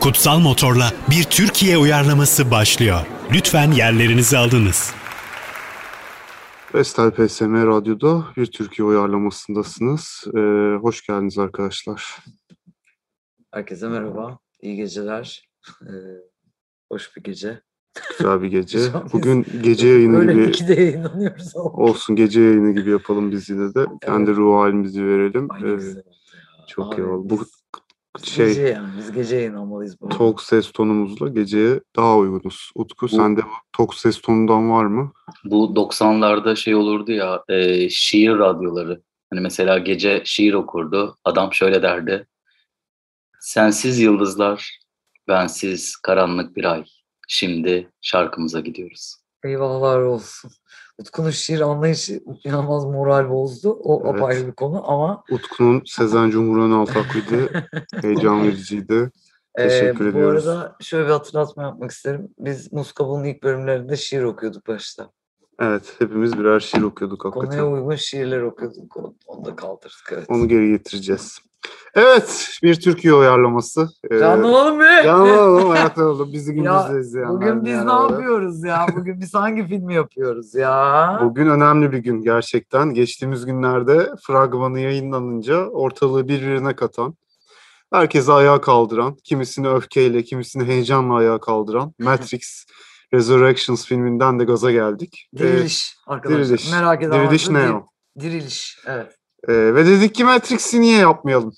Kutsal Motor'la bir Türkiye uyarlaması başlıyor. Lütfen yerlerinizi alınız. Vestel PSM Radyo'da bir Türkiye uyarlamasındasınız. Ee, hoş geldiniz arkadaşlar. Herkese merhaba, iyi geceler. Ee, hoş bir gece. Güzel bir gece. Güzel. Bugün gece yayını Böyle gibi ikide yayınlanıyoruz. olsun, gece yayını gibi yapalım biz yine de. Kendi ruh halimizi verelim. Ay ne Ee, güzel oldu ya. çok Abi iyi oldu. Bu biz- biz gece şey yani, biz gece yayınlanmalıyız. bu. tok ses tonumuzla geceye daha uygunuz. Utku sende tok ses tonundan var mı? Bu 90'larda şey olurdu ya e, şiir radyoları. Hani mesela gece şiir okurdu. Adam şöyle derdi. Sensiz yıldızlar, bensiz karanlık bir ay. Şimdi şarkımıza gidiyoruz. Eyvahlar olsun. Utku'nun şiir anlayışı inanılmaz moral bozdu. O Evet. apayrı bir konu ama Utku'nun Sezen Cumhur'un altaklıydı. Heyecan vericiydi. Ee, Teşekkür bu ediyoruz. arada şöyle bir hatırlatma yapmak isterim. Biz Muskabul'un ilk bölümlerinde şiir okuyorduk başta. Evet hepimiz birer şiir okuyorduk hakikaten. Konuya uygun şiirler okuyorduk. Onu- Onu da kaldırdık evet. Onu geri getireceğiz. Evet, bir Türkiye uyarlaması. Ee, Canlanalım be! Canlanalım, ayaklanalım. Bizi Ya, gündüzde izleyenler. Bugün biz ne merhaba. yapıyoruz ya? Bugün biz hangi filmi yapıyoruz ya? Bugün önemli bir gün gerçekten. Geçtiğimiz günlerde fragmanı yayınlanınca ortalığı birbirine katan, herkesi ayağa kaldıran, kimisini öfkeyle, kimisini heyecanla ayağa kaldıran Matrix Resurrections filminden de gaza geldik. Ee, Diriliş arkadaşlar. diriliş. Merak eden Diriliş varsa ne dir- o? Diriliş. Evet. Ee, ve dedik ki Matrix'i niye yapmayalım?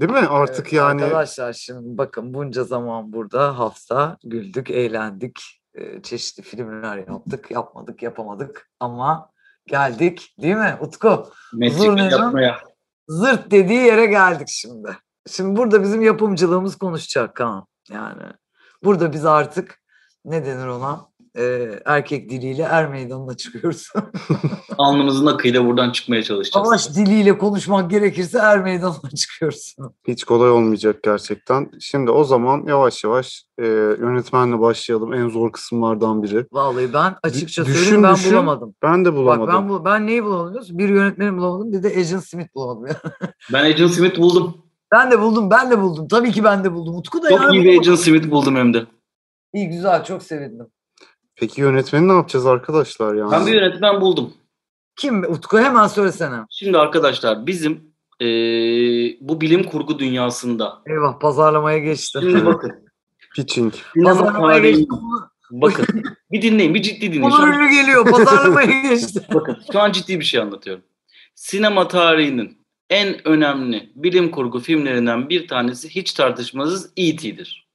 Değil mi? Artık Evet, yani Arkadaşlar şimdi bakın bunca zaman burada hafta güldük, eğlendik. e, Çeşitli filmler yaptık, yapmadık, yapamadık ama geldik değil mi Utku? Zor ne lan? yapmaya. Zırt dediği yere geldik şimdi. Şimdi burada bizim yapımcılığımız konuşacak Kaan. Yani burada biz artık ne denir ona? Ee, erkek diliyle er meydanına çıkıyoruz. Alnımızın akıyla buradan çıkmaya çalışacağız. Savaş diliyle konuşmak gerekirse er meydanına çıkıyoruz. Hiç kolay olmayacak gerçekten. Şimdi o zaman yavaş yavaş e, yönetmenle başlayalım. En zor kısımlardan biri. Vallahi ben açıkça Düşün, söyleyeyim ben düşün. bulamadım. Ben de bulamadım. Bak ben bu ben neyi bulamadım? biliyor musun? Bir yönetmeni bulamadım, bir de Agent Smith bulamadım. Ben Agent Smith buldum. ben de buldum, ben de buldum. Tabii ki ben de buldum. Utku da Çok yani iyi bir Agent Smith buldum hem de. İyi güzel, çok sevindim. Peki yönetmeni ne yapacağız arkadaşlar yani? Ben bir yönetmen buldum. Kim Utku hemen söylesene. Şimdi arkadaşlar bizim e, bu bilim kurgu dünyasında. Eyvah pazarlamaya geçti. Şimdi bakın. Pitching. Sinema Pazarlamaya geçti. tarihinin- Bakın bir dinleyin bir ciddi dinleyin. Şu Onun an- ürünü geliyor. Pazarlamaya geçti. Bakın şu an ciddi bir şey anlatıyorum. Sinema tarihinin en önemli bilim kurgu filmlerinden bir tanesi hiç tartışmasız E.T.'dir.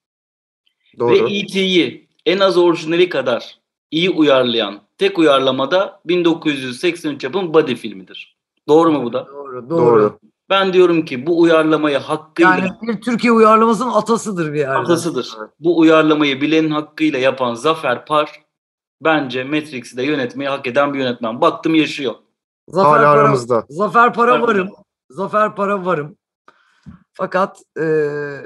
Doğru. Ve E.T.'yi en az orijinali kadar iyi uyarlayan tek uyarlamada 1983 yapım Body filmidir. Doğru mu bu da? Doğru, doğru. Doğru. Ben diyorum ki bu uyarlamayı hakkıyla Yani bir Türkiye uyarlamasının atasıdır bir yerde. atasıdır. Bu uyarlamayı bilenin hakkıyla yapan Zafer Par bence Matrix'i de yönetmeyi hak eden bir yönetmen. Baktım yaşıyor. Zafer Hala para, aramızda. Zafer para Zafer varım. Zafer para varım. Fakat eee,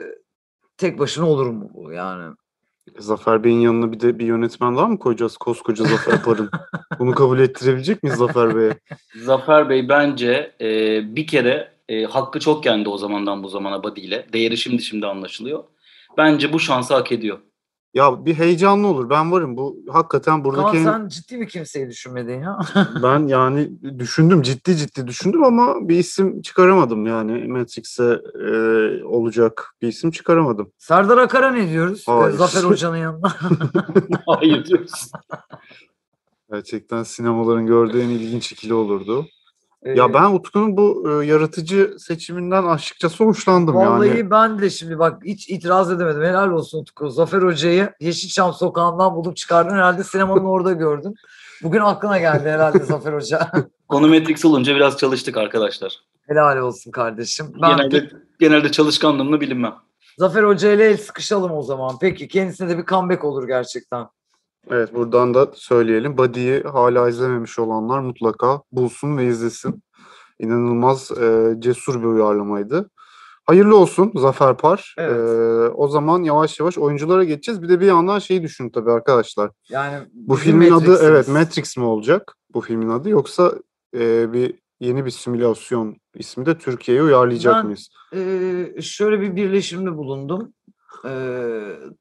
tek başına olur mu bu yani? Zafer Bey'in yanına bir de bir yönetmen daha mı koyacağız? Koskoca Zafer Par'ın. Bunu kabul ettirebilecek miyiz Zafer Bey'e? Zafer Bey bence e, bir kere e, hakkı çok yendi o zamandan bu zamana Badi ile. Değeri şimdi şimdi anlaşılıyor. Bence bu şansı hak ediyor. Ya bir heyecanlı olur. Ben varım. Bu hakikaten Kaan buradaki en- sen ciddi mi kimseyi düşünmedin ya? ben yani düşündüm ciddi ciddi düşündüm ama bir isim çıkaramadım yani Matrix'e e, olacak bir isim çıkaramadım. Serdar Akar'a ne diyoruz? Ee, Hayır. Zafer Hoca'nın yanına. Hayır diyorsun. Gerçekten sinemaların gördüğü en ilginç ikili olurdu. Ee, Ya ben Utku'nun bu e, yaratıcı seçiminden açıkçası hoşlandım Vallahi yani. ben de şimdi bak hiç itiraz edemedim. Helal olsun Utku. Zafer Hoca'yı Yeşilçam sokağından bulup çıkardın. Herhalde sinemanın orada gördün. Bugün aklına geldi herhalde Zafer Hoca. Konu Matrix olunca biraz çalıştık arkadaşlar. Helal olsun kardeşim. Ben Genelde, genelde çalışkanlığımla bilinmem. Zafer Hoca ile el sıkışalım o zaman. Peki kendisine de bir comeback olur gerçekten. Evet buradan da söyleyelim. Buddy'yi hala izlememiş olanlar mutlaka bulsun ve izlesin. İnanılmaz e, cesur bir uyarlamaydı. Hayırlı olsun Zafer Par. Evet. E, o zaman yavaş yavaş oyunculara geçeceğiz. Bir de bir yandan şeyi düşünün tabii arkadaşlar. Yani Bu bizim filmin adı Matrix'imiz. evet Matrix mi olacak bu filmin adı yoksa e, bir yeni bir simülasyon ismi de Türkiye'ye uyarlayacak Ben- mıyız? Ee, şöyle bir birleşimde bulundum. eee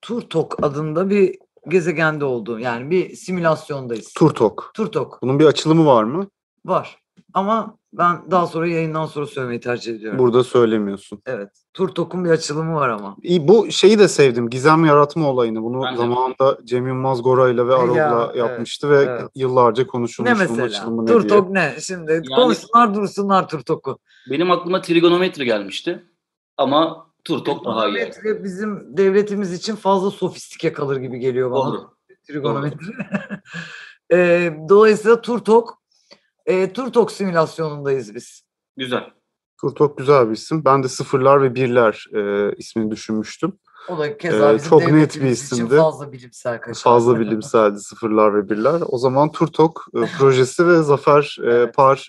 Turtok adında bir gezegende olduğum yani bir simülasyondayız. Turtok. Turtok Bunun bir açılımı var mı? var ama ben daha sonra yayından sonra söylemeyi tercih ediyorum. Burada söylemiyorsun. Evet. Turtok'un bir açılımı var ama. İyi, bu şeyi de sevdim. Gizem yaratma olayını. Bunu Ben de. zamanında Cem Yılmaz Gora'yla ve Ya, Arog'la evet, yapmıştı ve evet. yıllarca Ne konuşulmuş bunun mesela? açılımı ne diye. Turtok ne? Şimdi konuşsunlar dursunlar Turtok'u. Benim aklıma trigonometri gelmişti ama turtok daha iyi. Trigonometri bizim devletimiz için fazla sofistike kalır gibi geliyor bana. Doğru. Trigonometri. Eee, dolayısıyla Turtok eee Turtok simülasyonundayız biz. Güzel. Turtok güzel bir isim. Ben de sıfırlar ve birler e, ismini düşünmüştüm. O da keza Ee, bizim çok net bir devletimiz için isimdi. fazla bilimsel kaçar. Fazla bilimseldi sıfırlar ve birler. O zaman Turtok e, projesi ve Zafer e, Evet. Par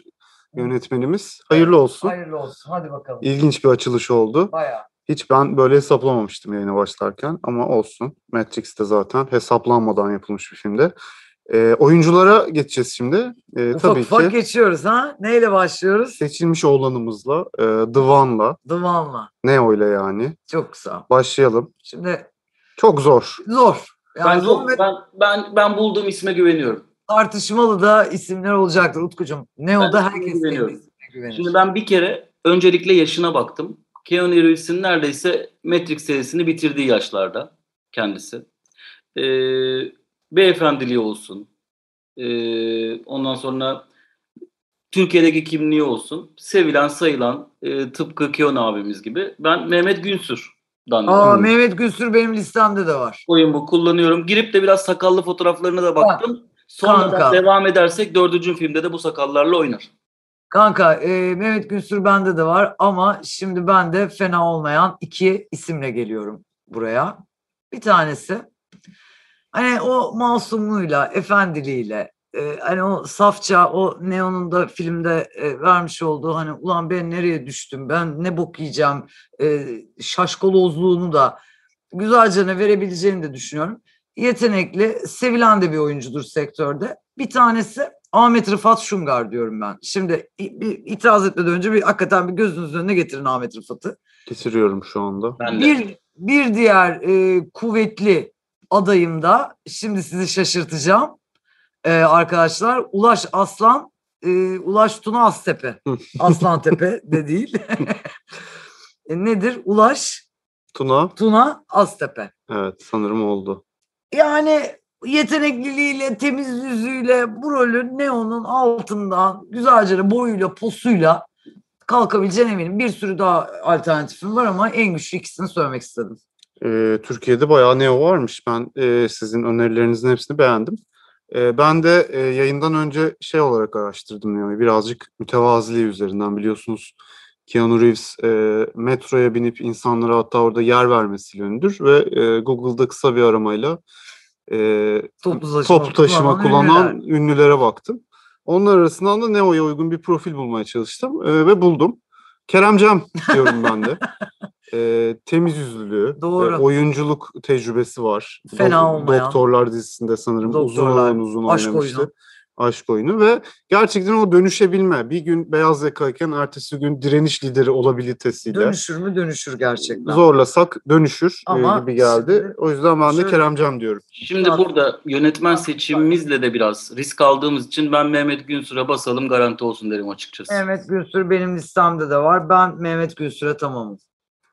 yönetmenimiz. Hayırlı olsun. Hayırlı olsun. Hadi bakalım. İlginç bir açılış oldu. Bayağı. Hiç ben böyle hesaplamamıştım yayına başlarken ama olsun. Matrix'te zaten hesaplanmadan yapılmış bir filmde. E, oyunculara geçeceğiz şimdi. E, Ufak tabii ufak ki E- geçiyoruz ha. Neyle başlıyoruz? seçilmiş oğlanımızla, e, Dıvan'la, Dumanla. Neo'yla yani Çok sağ. başlayalım. Şimdi Çok zor. zor. ben, Yani zor ve ben, ben, ben bulduğum isme güveniyorum. tartışmalı da isimler olacaktır Utkucuğum. Ne o Ben da ismine herkes güveniyorum. kendi ismine güvenir. Şimdi ben bir kere öncelikle yaşına baktım. Keanu Reeves'in neredeyse Matrix serisini bitirdiği yaşlarda kendisi. Ee, beyefendiliği olsun. Ee, ondan sonra Türkiye'deki kimliği olsun. Sevilen, sayılan e, tıpkı Keanu abimiz gibi. Ben Mehmet Günsür'dan Aa, Hmm. Mehmet Gülsür benim listemde de var. koyun bu kullanıyorum. Girip de biraz sakallı fotoğraflarına da baktım. Sonra kanka. devam edersek dördüncü filmde de bu sakallarla oynar. Kanka e, Mehmet Günsür bende de var ama şimdi ben de fena olmayan iki isimle geliyorum buraya. Bir tanesi hani o masumluğuyla, efendiliğiyle, e, hani o safça, o Neon'un da filmde e, vermiş olduğu hani ulan ben nereye düştüm, ben ne bok yiyeceğim e, şaşkolozluğunu da güzelce ne verebileceğini de düşünüyorum. Yetenekli, sevilen de bir oyuncudur sektörde. Bir tanesi Ahmet Rıfat Şungar diyorum ben. Şimdi i- bir itiraz etmeden önce bir hakikaten bir gözünüzün önüne getirin Ahmet Rıfat'ı. Getiriyorum şu anda. Ben de. Bir, bir diğer e, kuvvetli adayım da şimdi sizi şaşırtacağım e, arkadaşlar. Ulaş Aslan, e, Ulaş Tuna Aztepe. Aslan Tepe de değil. E, Nedir? Ulaş Tuna, Tuna Aztepe. evet sanırım oldu. Yani yetenekliliğiyle, temiz yüzüyle bu rolü Neon'un altından güzelce de boyuyla, posuyla kalkabileceğine eminim. Bir sürü daha alternatifim var ama en güçlü ikisini söylemek istedim. Ee, Türkiye'de bayağı neo varmış. Ben e, sizin önerilerinizin hepsini beğendim. E, ben de e, yayından önce şey olarak araştırdım yani birazcık mütevaziliği üzerinden biliyorsunuz. Keanu Reeves e, metroya binip insanlara hatta orada yer vermesiyle ünlüdür ve e, Google'da kısa bir aramayla e, Toplu taşıma, toplu taşıma kullanan kullanan ünlüler. ünlülere. baktım. Onun arasından da Neo'ya uygun bir profil bulmaya çalıştım e, ve buldum. Kerem Cem diyorum ben de. E, temiz yüzlülüğü, Doğru. e, oyunculuk tecrübesi var. Fena Dok- olmayan. Doktorlar dizisinde sanırım uzun Doktorlar, olan uzun aşk oynamıştı. oyunu. Aşk oyunu ve gerçekten o dönüşebilme. Bir gün beyaz yakayken ertesi gün direniş lideri olabilitesiyle. Dönüşür mü dönüşür gerçekten. Zorlasak dönüşür e, Ama gibi geldi. şimdi- o yüzden ben de Şöyle- Kerem Cem diyorum. Şimdi Biraz- burada yönetmen seçimimizle de biraz risk aldığımız için ben Mehmet Günsür'e basalım garanti olsun derim açıkçası. Mehmet Gülsür benim listemde de var. Ben Mehmet Gülsür'e tamamım.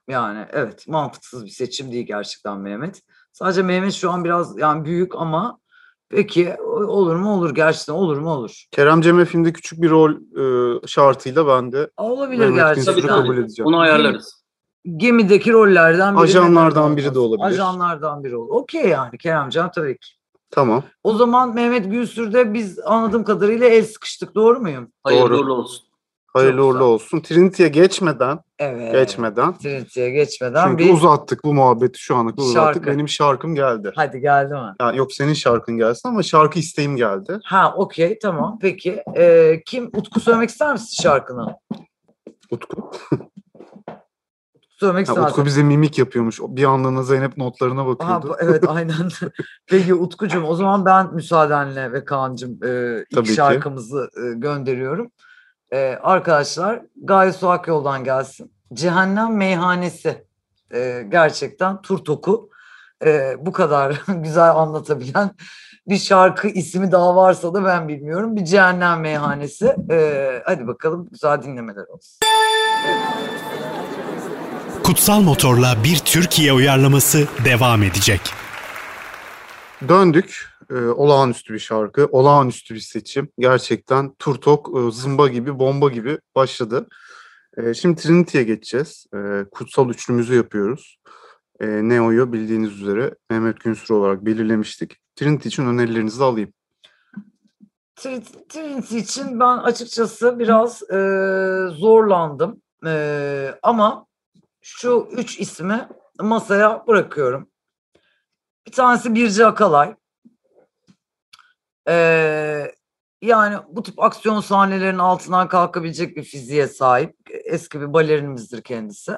Yani evet mantıksız bir seçim değil gerçekten Mehmet. Sadece Mehmet şu an biraz yani büyük ama peki o- olur mu olur gerçekten olur mu olur. Kerem Cem'e filmde küçük bir rol e, şartıyla ben de Aa, Olabilir Mehmet gerçekten. Günsür'ü Tabii, kabul edeceğim. Onu ayarlarız. Gemideki rollerden biri. Ajanlardan Mehmet biri de olmaz. olabilir. Ajanlardan biri olur. Okey yani Keremcan tabii ki. Tamam. O zaman Mehmet Gülsür'de biz anladığım kadarıyla el sıkıştık doğru muyum? Hayırlı Doğru. uğurlu olsun. Hayırlı Çok uğurlu güzel. olsun. Trinity'ye geçmeden, Evet. geçmeden. Trinity'ye geçmeden Çünkü Ee, bir... uzattık bu muhabbeti şu ana kadar uzattık. Şarkı. Benim şarkım geldi. Hadi geldi mi? Yani yok senin şarkın gelsin ama şarkı isteğim geldi. Ha okey tamam peki. Ee, kim Utku söylemek ister misin şarkını? Utku. Söylemek Ha, ister Utku misin? bize mimik yapıyormuş. O Bir anlığına Zeynep notlarına Aha, bakıyordu. bu- evet aynen. peki Utkucuğum o zaman ben müsaadenle ve Kaan'cığım e, ilk Tabii ki. şarkımızı e, gönderiyorum. E, arkadaşlar Gaye Suak Yoldan gelsin. Cehennem Meyhanesi. e, gerçekten Turtok'u e, bu kadar güzel anlatabilen bir şarkı ismi daha varsa da ben bilmiyorum. Bir cehennem meyhanesi. E, hadi bakalım güzel dinlemeler olsun. Kutsal Motor'la bir Türkiye uyarlaması devam edecek. Döndük. Ee, olağanüstü bir şarkı, olağanüstü bir seçim. Gerçekten Turtok e, zımba gibi, bomba gibi başladı. Ee, şimdi Trinity'ye geçeceğiz. Ee, kutsal üçlümüzü yapıyoruz. Ee, Neo'yu bildiğiniz üzere Mehmet Günsür olarak belirlemiştik. Trinity için önerilerinizi de alayım. Trin- Trinity için ben açıkçası biraz e, zorlandım. E, ama şu üç ismi masaya bırakıyorum. Bir tanesi Birce Akalay. Ee, yani bu tip aksiyon sahnelerinin altından kalkabilecek bir fiziğe sahip. Eski bir balerinimizdir kendisi.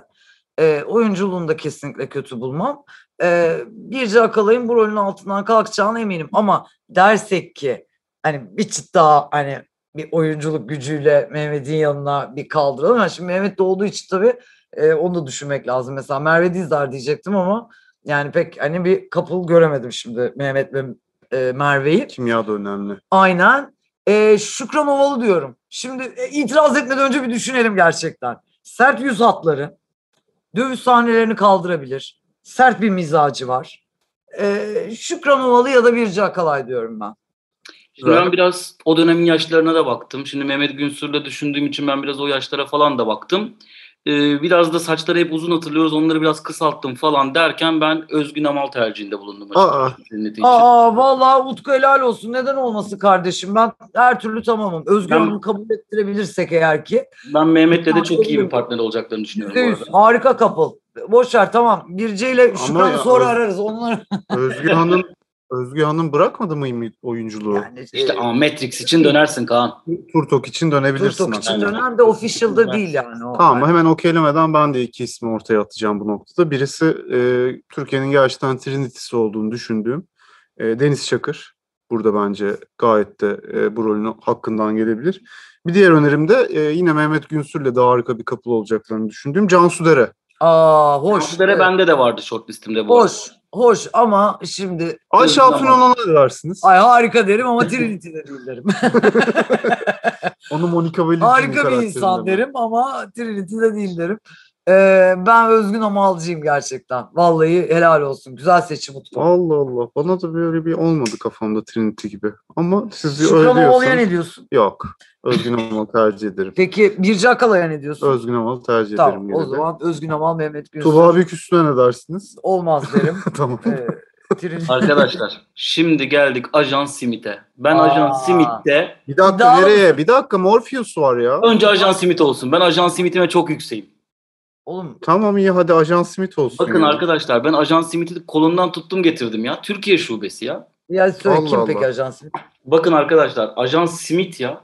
Ee, oyunculuğunu da kesinlikle kötü bulmam. Ee, Birce Akalay'ın bu rolün altından kalkacağına eminim. Ama dersek ki hani bir çıt daha hani bir oyunculuk gücüyle Mehmet'in yanına bir kaldıralım. Yani şimdi Mehmet de olduğu için tabii e, onu da düşünmek lazım. Mesela Merve Dizdar diyecektim ama yani pek hani bir kapıl göremedim şimdi Mehmet ve e, Merve'yi. Kimya da önemli. Aynen. E, Şükran Ovalı diyorum. Şimdi e, itiraz etmeden önce bir düşünelim gerçekten. Sert yüz hatları, dövüş sahnelerini kaldırabilir. Sert bir mizacı var. E, Şükran Ovalı ya da Birce Akalay diyorum ben. Şimdi Güzel. ben biraz o dönemin yaşlarına da baktım. Şimdi Mehmet Günsür'le düşündüğüm için ben biraz o yaşlara falan da baktım. Ee, biraz da saçları hep uzun hatırlıyoruz. Onları biraz kısalttım falan derken ben Özgün Amal tercihinde bulundum. Aa. açıkçası Trinity için. Aa vallahi Utku helal olsun. Neden olmasın kardeşim? Ben her türlü tamamım. Özgür Ben- Hanım'ı kabul ettirebilirsek eğer ki. Ben Mehmet'le de çok iyi bir partner olacaklarını düşünüyorum bu %100 arada. harika kapıl. Boş ver tamam. Birce ile Şükran'ı ya- sonra ararız. Onları Özgü Hanım, Özgü Hanım bırakmadı mı oyunculuğu? yani şey, Ee, İşte ama Matrix için dönersin Kaan. Turtok için dönebilirsin. Turtok için aslında. dönem de official'da değil yani. O. Tamam hemen okeylemeden ben de iki ismi ortaya atacağım bu noktada. Birisi e, Türkiye'nin gerçekten Trinity'si olduğunu düşündüğüm e, Deniz Çakır. Burada bence gayet de e, bu rolün hakkından gelebilir. Bir diğer önerim de e, yine Mehmet Günsür'le de harika bir kapıl olacaklarını düşündüğüm Cansu Dere. Aa hoş. Şutlere Evet, bende de vardı shortlistimde bu arada. Hoş. Hoş ama şimdi Ayşe Tamam. Hatun ona ne dersiniz? ay harika derim ama Trinity de değil derim. Onu Monica Bellucci'nin harika bir karakterinden. insan derim ama Trinity de değil derim. Ee, ben özgün amalcıyım gerçekten. Vallahi helal olsun. Güzel seçim Utku. Allah Allah. Bana da böyle bir olmadı kafamda Trinity gibi. Ama siz öyle Şükran Ovalı'ya ne diyorsanız diyorsun? yok. Özgün Amal'ı tercih ederim. Peki Birce Akalay'a ne diyorsun? Özgün Amal'ı tercih ederim. tamam yine o de. zaman Özgün Amal Mehmet Günsür. Tuba Büyük üstüne ne dersiniz? Olmaz derim. tamam. ee, Trinity. Arkadaşlar şimdi geldik Ajan Simit'e. Ben Ajan Aa. Simit'te Bir dakika İddialı nereye? Bir dakika Morpheus var ya. önce Ajan Simit olsun. Ben Ajan Simit'ime çok yükseğim. Oğlum Tamam iyi hadi Ajan Smith olsun. Bakın ya. arkadaşlar ben Ajan Simit'i kolundan tuttum getirdim ya. Türkiye şubesi ya. ya söyle Allah kim Allah. peki ajansı? Bakın arkadaşlar Ajan Simit ya.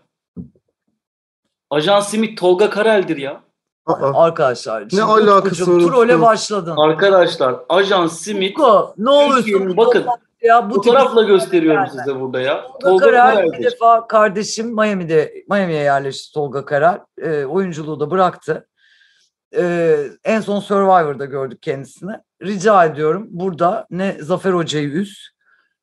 Ajan Simit Tolga Karel'dir ya. Aa, Arkadaşlar. şimdi Ah. alakası Utkucuğum, var Trole Utku? başladın. Arkadaşlar Ajan Simit Utku ne olursun. Türkiye'nin bakın Ya, bu tip- fotoğrafla gösteriyorum size burada ya. Tolga Tolga Karar bir Karel'dir. defa kardeşim Miami'de Miami'ye yerleşti Tolga Karar. Ee, oyunculuğu da bıraktı. Ee, en son Survivor'da gördük kendisini. Rica ediyorum burada ne Zafer Hoca'yı üz.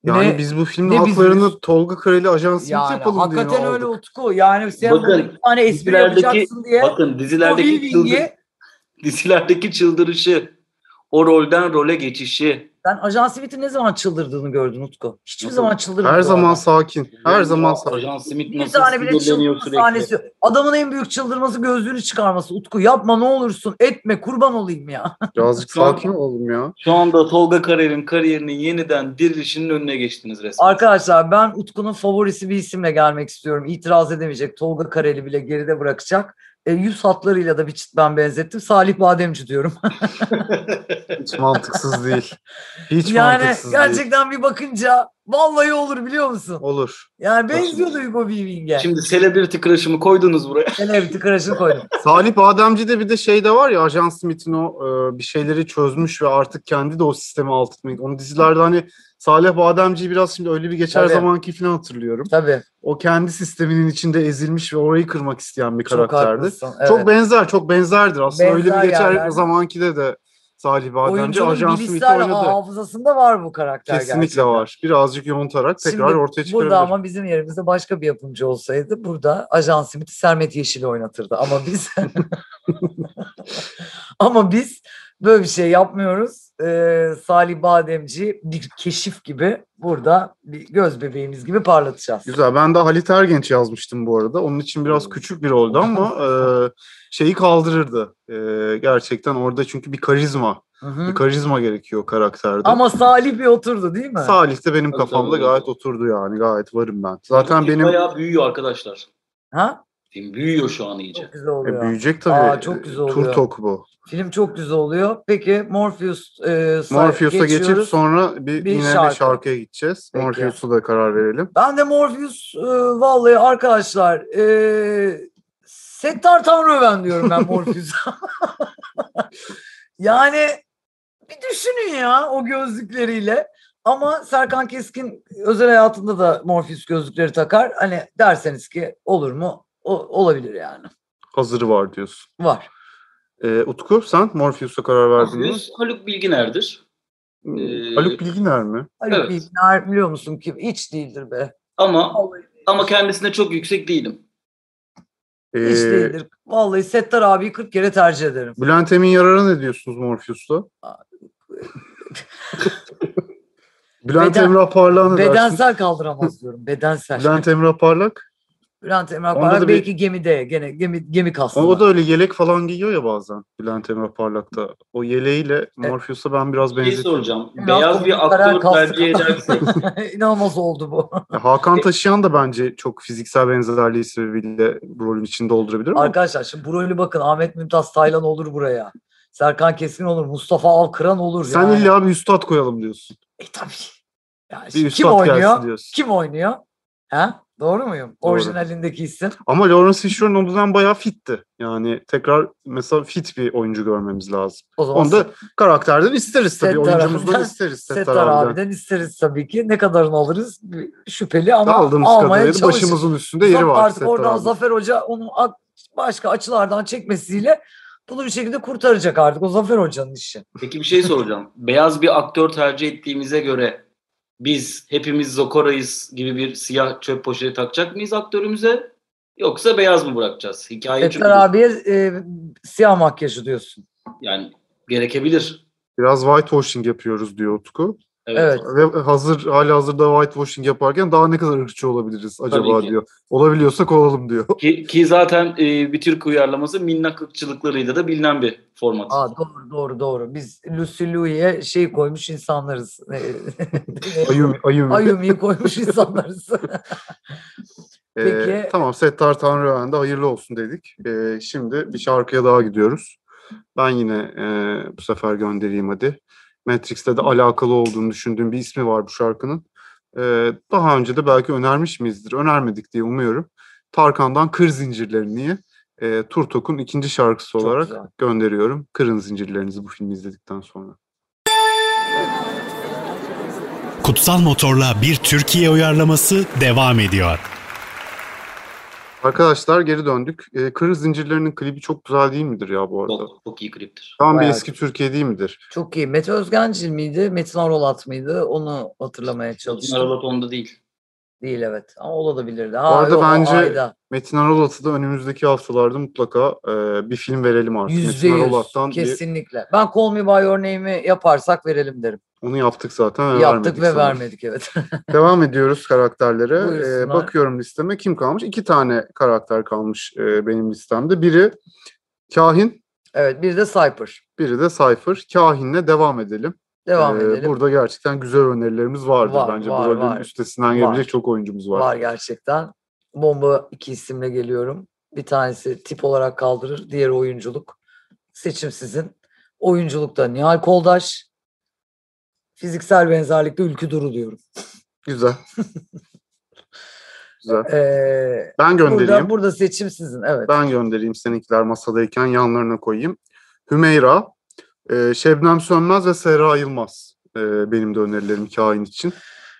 yani ne, biz bu ne filmin haklarını bizim- Tolga Kareli Ajan Smith yani yapalım diye hakikaten aldık. öyle Utku. Yani sen Bakın, burada bir tane espri dizilerdeki- yapacaksın diye Bakın o dizilerdeki çıldır, Weaving'i dizilerdeki çıldırışı, o rolden role geçişi. ben Ajan Smith'in ne zaman çıldırdığını gördün Utku. Hiçbir Nasıl? zaman çıldırmıyor. Her bu zaman adam. sakin. Her Ya, zaman sakin. Ajan Simit Bir şey nasıl tane bile sinirleniyor çıldırma sürekli. sahnesi. yok. Adamın en büyük çıldırması gözlüğünü çıkarması. Utku yapma ne olursun etme kurban olayım ya. Birazcık Şu an- sakin olalım ya. Şu anda Tolga Karel'in kariyerinin yeniden dirilişinin önüne geçtiniz resmen. Arkadaşlar ben Utku'nun favorisi bir isimle gelmek istiyorum. İtiraz edemeyecek. Tolga Kareli bile geride bırakacak. E, yüz hatlarıyla da bir çıt ben benzettim. Salih Bademci diyorum. Hiç mantıksız değil. Hiç yani mantıksız değil. gerçekten bir bakınca vallahi olur biliyor musun? Olur. Yani benziyordu Hugo Weaving'e. Şimdi... Şimdi celebrity crush'ımı koydunuz buraya. bir tıkırışını koydum. Salih Bademci'de bir de şey de var ya Ajan Smith'in o e, bir şeyleri çözmüş ve artık kendi de o sistemi alt etmek. Onu dizilerde hani Salih Bademci'yi biraz şimdi öyle bir geçer Tabii. zamanki falan hatırlıyorum. Tabii. O kendi sisteminin içinde ezilmiş ve orayı kırmak isteyen bir Çok karakterdi. Çok, haklısın. Evet. benzer, çok benzerdir aslında. öyle Benzer bir geçer yerler. zamankide de Salih Bademci Oyuncunun Ajans Smith'i bilgisayar oynadı. hafızasında var bu karakter Kesinlikle gerçekten. var. Birazcık yontarak tekrar Şimdi ortaya çıkarabilir. Burada ama bizim yerimizde başka bir yapımcı olsaydı burada Ajan Smith'i Sermet Yeşil oynatırdı. Ama biz ama biz böyle bir şey yapmıyoruz. Ee, Salih Bademci bir keşif gibi burada bir göz bebeğimiz gibi parlatacağız. Güzel. Ben de Halit Ergenç yazmıştım bu arada. Onun için Hmm. biraz küçük bir oldu ama e, şeyi kaldırırdı. E, gerçekten orada çünkü bir karizma. Hı hı. Bir karizma gerekiyor karakterde. Ama Salih bir oturdu değil mi? Salih de benim Tabii, kafamda tabii. gayet oturdu yani. Gayet varım ben. Zaten Film benim Bayağı büyüyor arkadaşlar. ha? Film büyüyor şu an iyice. Çok güzel E, oluyor. büyüyecek tabii. Aa, çok güzel oluyor. Turtok bu. Film çok güzel oluyor. Peki Morpheus e, say- Morpheus'a geçip geçiyoruz. sonra bir, Bir yine şarkı. bir şarkıya gideceğiz. Peki. Morpheus'a da karar verelim. Ben de Morpheus e, vallahi arkadaşlar e, Settar Tanrıöven diyorum ben Morpheus'a. yani bir düşünün ya o gözlükleriyle. Ama Serkan Keskin özel hayatında da Morpheus gözlükleri takar. Hani derseniz ki olur mu? O, olabilir yani. Hazırı var diyorsun. Var. E, Utku sen Morpheus'a karar verdin mi? Hmm, Yüz Haluk Bilginer'dir. Ee, Haluk Bilginer mi? Haluk Evet. Bilginer Hani biliyor musun ki hiç değildir be. Ama ama kendisine çok yüksek değilim. E, Hiç değildir. Vallahi Settar abiyi 40 kere tercih ederim. Bülent Emin Yarar'a ne diyorsunuz Morpheus'ta? Bülent Beden- Emrah Parlak'a ne dersiniz? Bedensel kaldıramaz diyorum. Bedensel. Bülent Emrah Parlak. Bülent Emrah Onda Parlak da bir- belki gemide gene gemi gemi kastında. O da öyle yelek falan giyiyor ya bazen Bülent Emrah Parlak'ta. O E, yeleğiyle Morpheus'a ben biraz Bir şey benzetiyorum. soracağım. Biraz Beyaz komik bir karar aktör kalsın. tercih edersek İnanılmaz oldu bu. E- Hakan Taşıyan da bence çok fiziksel benzerliği sebebiyle bu rolün içinde doldurabilir ama Arkadaşlar şimdi bu rolü bakın Ahmet Mümtaz Taylan olur buraya. Serkan Keskin olur. Mustafa Alkıran olur. sen yani. illa bir üstad koyalım diyorsun. E tabii. Yani Bir şimdi kim üstad gelsin oynuyor? diyorsun. Kim oynuyor? Ha? Doğru muyum? Doğru. Orijinalindeki isim. Ama Lawrence Fishburne o yüzden bayağı fitti. Yani tekrar mesela fit bir oyuncu görmemiz lazım. O zaman Onu da karakterden isteriz tabii. Settar Oyuncumuzdan abiden- isteriz. Settar Settar abiden. abiden isteriz tabii ki. Ne kadarını alırız şüpheli ama Aldığımız almaya kadarıyla da çalışırız. başımızın üstünde yeri var. Artık Settar oradan abinin. Zafer Hoca onu at- başka açılardan çekmesiyle bunu bir şekilde kurtaracak artık. O Zafer Hoca'nın işi. Peki bir şey soracağım. Beyaz bir aktör tercih ettiğimize göre biz hepimiz Zokora'yız gibi bir siyah çöp poşeti takacak mıyız aktörümüze? Yoksa beyaz mı bırakacağız? Hikaye çünkü Settar abiye e, siyah makyajı diyorsun. yani gerekebilir. Biraz whitewashing yapıyoruz diyor Utku. Evet. Evet. Ve hazır hali hazırda whitewashing yaparken daha ne kadar ırkçı olabiliriz acaba ki. diyor. Olabiliyorsak olalım diyor. Ki, ki zaten e, bir Türk uyarlaması minnak ırkçılıklarıyla da bilinen bir format. Aa, doğru doğru doğru. Biz Lucy Liu'ya şey koymuş insanlarız. Ayım, ayım. Ayumi'yi koymuş insanlarız. Ee, peki. tamam Settar Tanrıören'de hayırlı olsun dedik. Ee, şimdi bir şarkıya daha gidiyoruz. Ben yine e, bu sefer göndereyim hadi. Matrix'te de alakalı olduğunu düşündüğüm bir ismi var bu şarkının. Ee, daha önce de belki önermiş miyizdir? Önermedik diye umuyorum. Tarkan'dan Kır Zincirlerini e, Turtok'un ikinci şarkısı Çok olarak güzel. gönderiyorum. Kırın zincirlerinizi bu filmi izledikten sonra. Kutsal Motor'la bir Türkiye uyarlaması devam ediyor. Arkadaşlar geri döndük. Ee, Kır Zincirlerinin klibi çok güzel değil midir ya bu arada? Çok, çok iyi kliptir. Tam bir Bayağı eski Türkiye değil midir? Çok iyi. Mete Özgencil miydi? Metin Arolat mıydı? Onu hatırlamaya çalıştım. Aralat onda değil. Değil evet. Ama olabilirdi. Bu Ha, arada yok, o bence Ayda. Metin Arolat'ı da önümüzdeki haftalarda mutlaka e, bir film verelim artık. Yüzde Metin yüz. Arolat'tan bir- Kesinlikle. Ben Call Me By Your Name'i yaparsak verelim derim. onu yaptık zaten. ve Yaptık ve sanırım. vermedik evet. Devam ediyoruz karakterlere. Buyursunlar. E, bakıyorum listeme kim kalmış? İki tane karakter kalmış e, benim listemde. Biri kahin, evet bir de Cypher. biri de Cypher. Kahinle devam edelim. Devam E, edelim. Burada gerçekten güzel önerilerimiz vardır Var, bence. var, bu rolün var. üstesinden Var. gelebilecek çok oyuncumuz var. Var gerçekten. Bomba iki isimle geliyorum. Bir tanesi tip olarak kaldırır. Diğeri oyunculuk. Seçim sizin. Oyunculukta Nihal Koldaş. Fiziksel benzerlikte Ülkü Duru diyorum. Güzel. güzel. Ee, Ben göndereyim. burada, burada seçim sizin. Evet. Ben göndereyim seninkiler masadayken yanlarına koyayım. Hümeyra, e, Şebnem Sönmez ve Serra Yılmaz e, benim de önerilerim kain için.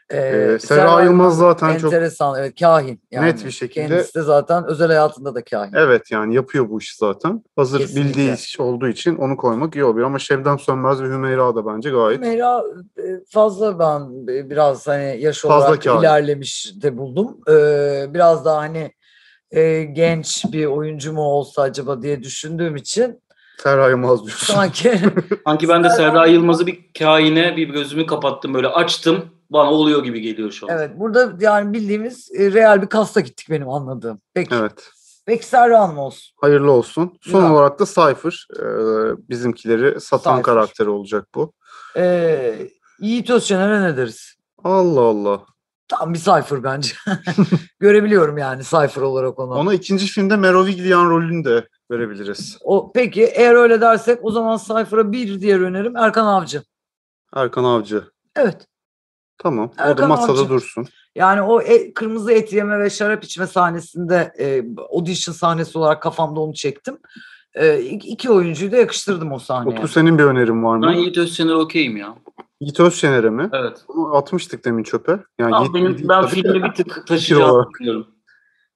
Ee, Ee, Serra Yılmaz zaten çok- enteresan, evet kahin. Yani. Net bir şekilde- Kendisi de zaten özel hayatında da kahin. Evet yani yapıyor bu işi zaten. Hazır Kesinlikle. bildiği iş olduğu için onu koymak iyi oluyor. Ama Şevdem Sönmez ve Hümeyra da bence gayet. Mera e, fazla ben e, biraz hani yaş Fazla olarak kahin. ilerlemiş de buldum. Ee, biraz daha hani e, genç bir oyuncu mu olsa acaba diye düşündüğüm için Serra Yılmaz diyorsun. sanki Sanki ben de Serra- Serra Yılmaz'ı bir kaine bir gözümü kapattım böyle açtım. Bana oluyor gibi geliyor şu an. evet burada yani bildiğimiz e, real bir kasta gittik benim anladığım. Peki, Evet. peki Serra Hanım olsun. Hayırlı olsun. Son Güzel. olarak da Cypher. eee, bizimkileri satan Cypher. karakteri olacak bu. Ee, Yiğit Özçener'e ne deriz? Allah Allah. Tam bir Cypher bence. Görebiliyorum yani Cypher olarak onu. Ona ikinci filmde Merovingian rolünü de verebiliriz. O, peki eğer öyle dersek o zaman Cypher'a bir diğer önerim Erkan Avcı. Erkan Avcı. Evet. Tamam. o da Erkan masada Avcı. dursun. Yani o e- kırmızı et yeme ve şarap içme sahnesinde e, audition sahnesi olarak kafamda onu çektim. E, ik- iki oyuncuyu da yakıştırdım o sahneye. Utku senin bir önerin var Hani Ben mı? Yiğit Özşener okeyim ya. Yiğit Özşener'e mi? Evet. Onu atmıştık demin çöpe. Yani Ama Yiğit- Yiğit- benim, ben tabii de- filmi bir tık Fikir taşıyacağını olarak. düşünüyorum.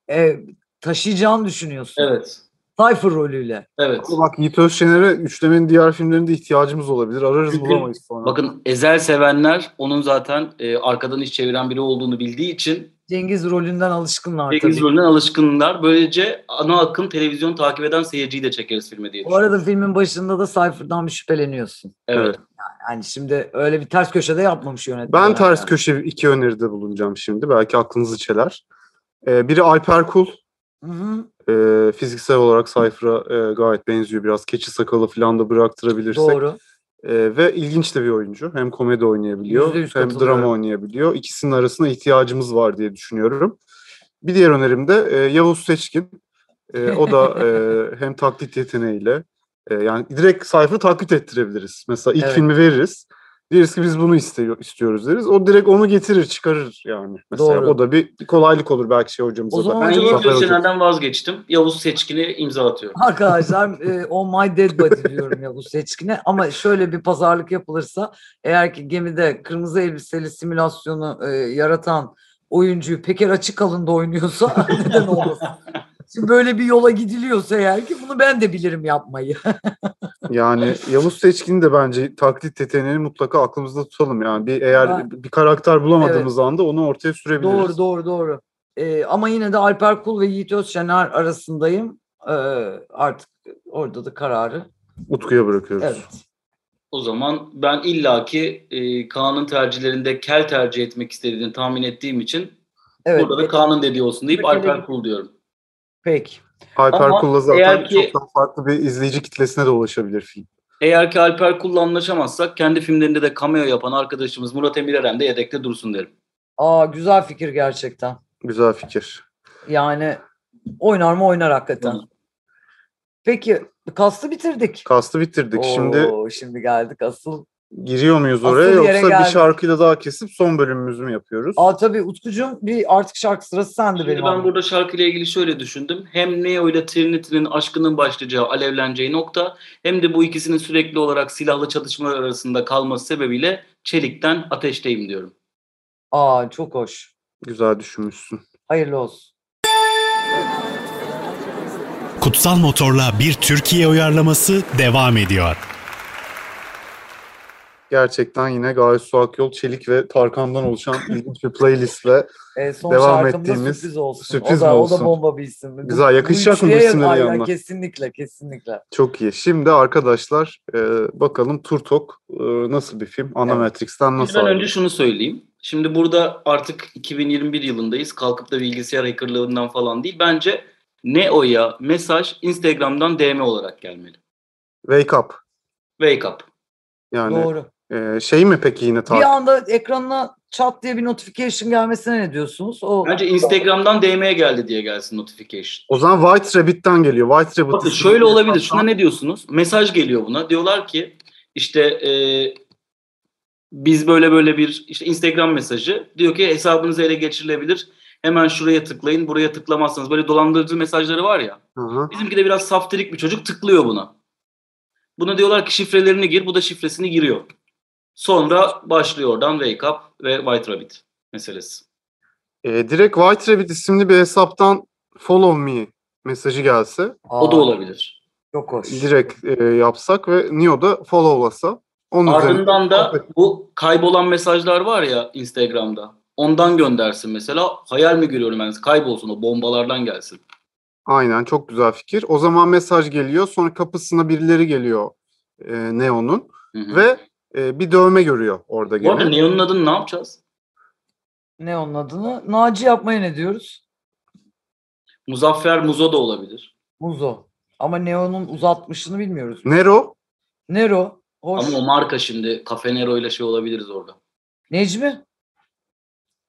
E, taşıyacağını düşünüyorsun. Evet. Cypher rolüyle. Evet. Ama Bak Yiğit Özşener'e üçlemenin diğer filmlerinde ihtiyacımız olabilir. Ararız Çünkü- bulamayız sonra. Bakın Ezel sevenler onun zaten e, arkadan iş çeviren biri olduğunu bildiği için Cengiz rolünden alışkınlar Cengiz tabii. rolünden alışkınlar. Böylece ana akım televizyon takip eden seyirciyi de çekeriz filme diye Bu arada filmin başında da Cypher'dan bir şüpheleniyorsun. düşünüyorum. Evet. Yani şimdi öyle bir ters köşede yapmamış yönetmen. Ben ters yani. köşe iki öneride bulunacağım şimdi. Belki aklınızı çeler. Ee, biri Alper Kul. Hı hı, Ee, fiziksel olarak Cypher'a e, gayet benziyor. Biraz keçi sakalı falan da bıraktırabilirsek. doğru. Ee, ve ilginç de bir oyuncu. Hem komedi oynayabiliyor Yüzde yüz hem katılıyorum. drama oynayabiliyor. İkisinin arasında ihtiyacımız var diye düşünüyorum. Bir diğer önerim de e, Yavuz Seçkin. E, o da e, hem taklit yeteneğiyle e, yani direkt sayfayı taklit ettirebiliriz. Mesela ilk Evet. filmi veririz. Deriz ki biz bunu istiyor, istiyoruz deriz. O direkt onu getirir çıkarır yani. Mesela Doğru. o da bir, bir kolaylık olur belki şey hocamıza O da. zaman Ben Acaba- Yiğit Zafer hocam. Özşener'den vazgeçtim. Yavuz Seçkin'i imza atıyorum. Arkadaşlar e, On My Dead Body diyorum ya bu seçkine ama şöyle bir pazarlık yapılırsa eğer ki gemide kırmızı elbiseli simülasyonu e, yaratan oyuncuyu Peker açık alında oynuyorsa neden olmasın? Şimdi böyle bir yola gidiliyorsa eğer ki bunu ben de bilirim yapmayı. Yani Yavuz Seçkin'i de bence taklit yeteneğini mutlaka aklımızda tutalım. Yani bir eğer Ben- bir karakter bulamadığımız anda onu ortaya sürebiliriz. doğru doğru doğru. E, ama yine de Alper Kul ve Yiğit Özşener arasındayım. E, artık orada da kararı. Utku'ya bırakıyoruz. Evet. O zaman ben illaki e, Kaan'ın tercihlerinde kel tercih etmek istediğini tahmin ettiğim için Evet. burada da Kaan'ın dediği olsun deyip Peki. Alper Kul diyorum. Peki. Alper Ama Kul'la zaten eğer çok ki- daha farklı bir izleyici kitlesine de ulaşabilir film. Eğer ki Alper Kul'la anlaşamazsak kendi filmlerinde de cameo yapan arkadaşımız Murat Emir Eren de yedekte dursun derim. Aa güzel fikir gerçekten. Güzel fikir. Yani oynar mı oynar hakikaten. Oynar. Peki kastı bitirdik. Kastı bitirdik. Şimdi Oo, şimdi geldik asıl. giriyor muyuz Asıl oraya yere yoksa bir geldik. şarkıyla daha kesip son bölümümüzü mü yapıyoruz? Aa tabii Utkucuğum bir artık şarkı sırası sende Şimdi benim. ben abi. burada şarkıyla ilgili şöyle düşündüm. Hem Neo ile Trinity'nin aşkının başlayacağı, alevleneceği nokta hem de bu ikisinin sürekli olarak silahlı çatışmalar arasında kalması sebebiyle çelikten ateşteyim diyorum. Aa çok hoş. Güzel düşünmüşsün. Hayırlı olsun. Kutsal Motor'la bir Türkiye uyarlaması devam ediyor. Gerçekten yine Gayet Su Akyol, Çelik ve Tarkan'dan oluşan ilginç bir playlistle Ee, son Devam şarkımda ettiğimiz sürpriz olsun. sürpriz o da, mi O olsun? da bomba bir isim. Bu- Güzel, yakışacak mı bu üçlüye yak- isimleri Ay, ay, yanına? Kesinlikle kesinlikle. çok iyi. Şimdi arkadaşlar e, bakalım Turtok e, nasıl bir film? Anamatrix'ten Biz nasıl ben ayrılıyor? önce şunu söyleyeyim. Şimdi burada artık 2021 yılındayız. Kalkıp da bilgisayar hackerlığından falan değil. Bence Neo'ya mesaj Instagram'dan DM olarak gelmeli. Wake Up. Wake up. Yani Doğru. e, şey mi peki yine Bir takip? anda ekranına çat diye bir notification gelmesine ne diyorsunuz? O Bence Instagram'dan DM'ye geldi diye gelsin notification. O zaman White Rabbit'ten geliyor. White Rabbit. Bakın isimli şöyle bir olabilir. hesaptan- Şuna ne diyorsunuz? Mesaj geliyor buna. Diyorlar ki işte e, biz böyle böyle bir işte Instagram mesajı diyor ki hesabınız ele geçirilebilir. Hemen şuraya tıklayın. Buraya tıklamazsanız böyle dolandırıcı mesajları var ya. Hı hı. Bizimki de biraz saftirik bir çocuk tıklıyor buna. Buna diyorlar ki şifrelerini gir. Bu da şifresini giriyor. Sonra başlıyor oradan Wake Up ve White Rabbit. meselesi. E, direkt White Rabbit isimli bir hesaptan follow me mesajı gelse O da Aa, olabilir. Çok hoş. direkt e, yapsak ve Neo'da followlasa onun üzerine Ardından da bu kaybolan mesajlar var ya Instagram'da. Ondan göndersin mesela. Hayal mi görüyorum ben? Kaybolsun o bombalardan gelsin. aynen çok güzel fikir. O zaman mesaj geliyor sonra kapısına birileri geliyor e, Neo'nun Hı hı. ve e, bir dövme görüyor orada bu arada gene. Neon'un adını ne yapacağız? Ne onun adını? Naci yapmaya ne diyoruz? Muzaffer Muzo da olabilir. Muzo. Ama Neo'nun uzatmışını bilmiyoruz. Nero Nero. Hoş. Ama o marka şimdi Cafe Nero ile şey olabiliriz orada. Necmi?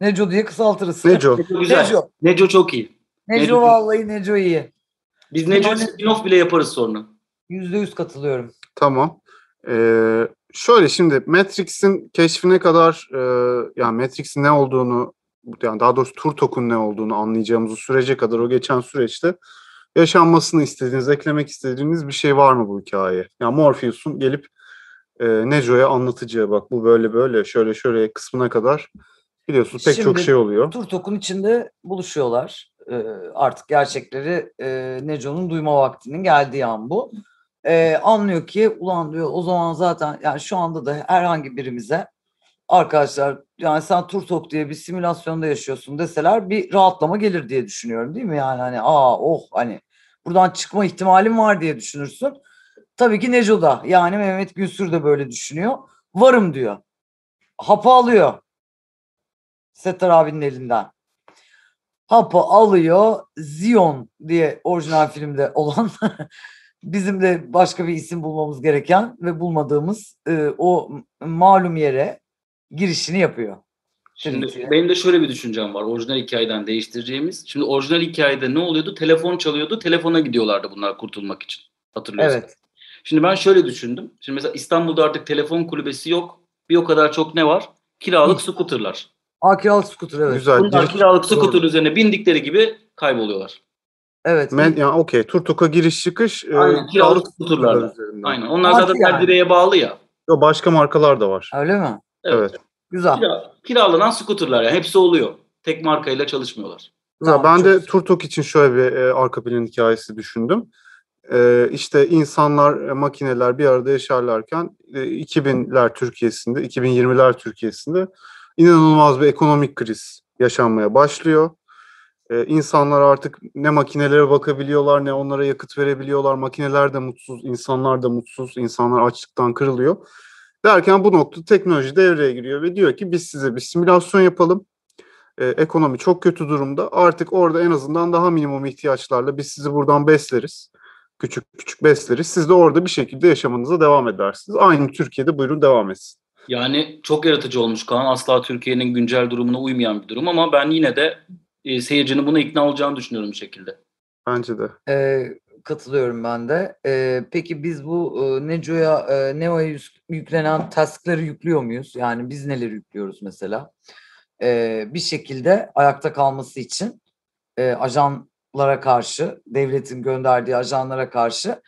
Neco diye kısaltırız. Neco. Neco güzel. Neco, Neco. çok iyi. Neco. Neco vallahi Neco iyi. Biz Neco Yani- spin-off bile yaparız sonra. Yüzde yüz katılıyorum. Tamam. Ee, şöyle şimdi Matrix'in keşfine kadar e, yani Matrix'in ne olduğunu yani daha doğrusu Turtok'un ne olduğunu anlayacağımız o sürece kadar o geçen süreçte yaşanmasını istediğiniz, eklemek istediğiniz bir şey var mı bu hikayeye? Yani Morpheus'un gelip e, Nejo'ya anlatacağı bak bu böyle böyle şöyle şöyle kısmına kadar biliyorsunuz pek çok Şimdi- şey oluyor. Turtok'un içinde buluşuyorlar. Ee, artık gerçekleri e, Neco'nun duyma vaktinin geldiği an bu. Ee, anlıyor ki ulan diyor o zaman zaten yani şu anda da herhangi birimize arkadaşlar yani sen Turtok diye bir simülasyonda yaşıyorsun deseler bir rahatlama gelir diye düşünüyorum değil mi? Yani hani aa oh hani buradan çıkma ihtimalim var diye düşünürsün. Tabii ki Neco da yani Mehmet Günsür de böyle düşünüyor. Varım diyor. Hapı alıyor. Settar abinin elinden. Hapı alıyor. Zion diye orijinal filmde olan bizim de başka bir isim bulmamız gereken ve bulmadığımız e, o m- malum yere girişini yapıyor. Şimdi Trinity. benim de şöyle bir düşüncem var. Orijinal hikayeden değiştireceğimiz. Şimdi orijinal hikayede ne oluyordu? Telefon çalıyordu. Telefona gidiyorlardı bunlar kurtulmak için. Hatırlıyorsun. Evet. Şimdi ben şöyle düşündüm. Şimdi mesela İstanbul'da artık telefon kulübesi yok. Bir o kadar çok ne var? Kiralık scooterlar. Akiralı Scooter evet. Güzel. Bunlar giriş- kiralık doğru. scooter üzerine bindikleri gibi kayboluyorlar. Evet. Men, yani okey Turtok'a giriş çıkış e, Aynen, kiralık sağlık scooterlarla. kurumları üzerinden. Aynen. Onlar Artı zaten yani. perdireye bağlı ya. Yo, Başka markalar da var. Öyle mi? Evet. Güzel. Kira- kiralanan scooterlar yani. Hepsi oluyor. Tek markayla çalışmıyorlar. Mesela Tamam, ben çok de güzel. Turtok için şöyle bir e, arka plan hikayesi düşündüm. E, işte insanlar, e, makineler bir arada yaşarlarken e, 2000'ler Türkiye'sinde, 2020'ler Türkiye'sinde inanılmaz bir ekonomik kriz yaşanmaya başlıyor. E, insanlar artık ne makinelere bakabiliyorlar ne onlara yakıt verebiliyorlar. Makineler de mutsuz, insanlar da mutsuz, insanlar açlıktan kırılıyor. Derken bu noktada teknoloji devreye giriyor ve diyor ki biz size bir simülasyon yapalım. E, ekonomi çok kötü durumda. Artık orada en azından daha minimum ihtiyaçlarla biz sizi buradan besleriz. Küçük küçük besleriz. Siz de orada bir şekilde yaşamanıza devam edersiniz. Aynı Türkiye'de buyurun devam etsin. Yani çok yaratıcı olmuş Kaan. Asla Türkiye'nin güncel durumuna uymayan bir durum ama ben yine de e, seyircinin buna ikna olacağını düşünüyorum bir şekilde. Bence de. Ee, katılıyorum ben de. Ee, peki biz bu e, Neco'ya, e, Neo'ya yüz- yüklenen taskları yüklüyor muyuz? Yani biz neleri yüklüyoruz mesela? Ee, bir şekilde ayakta kalması için e, ajanlara karşı, devletin gönderdiği ajanlara karşı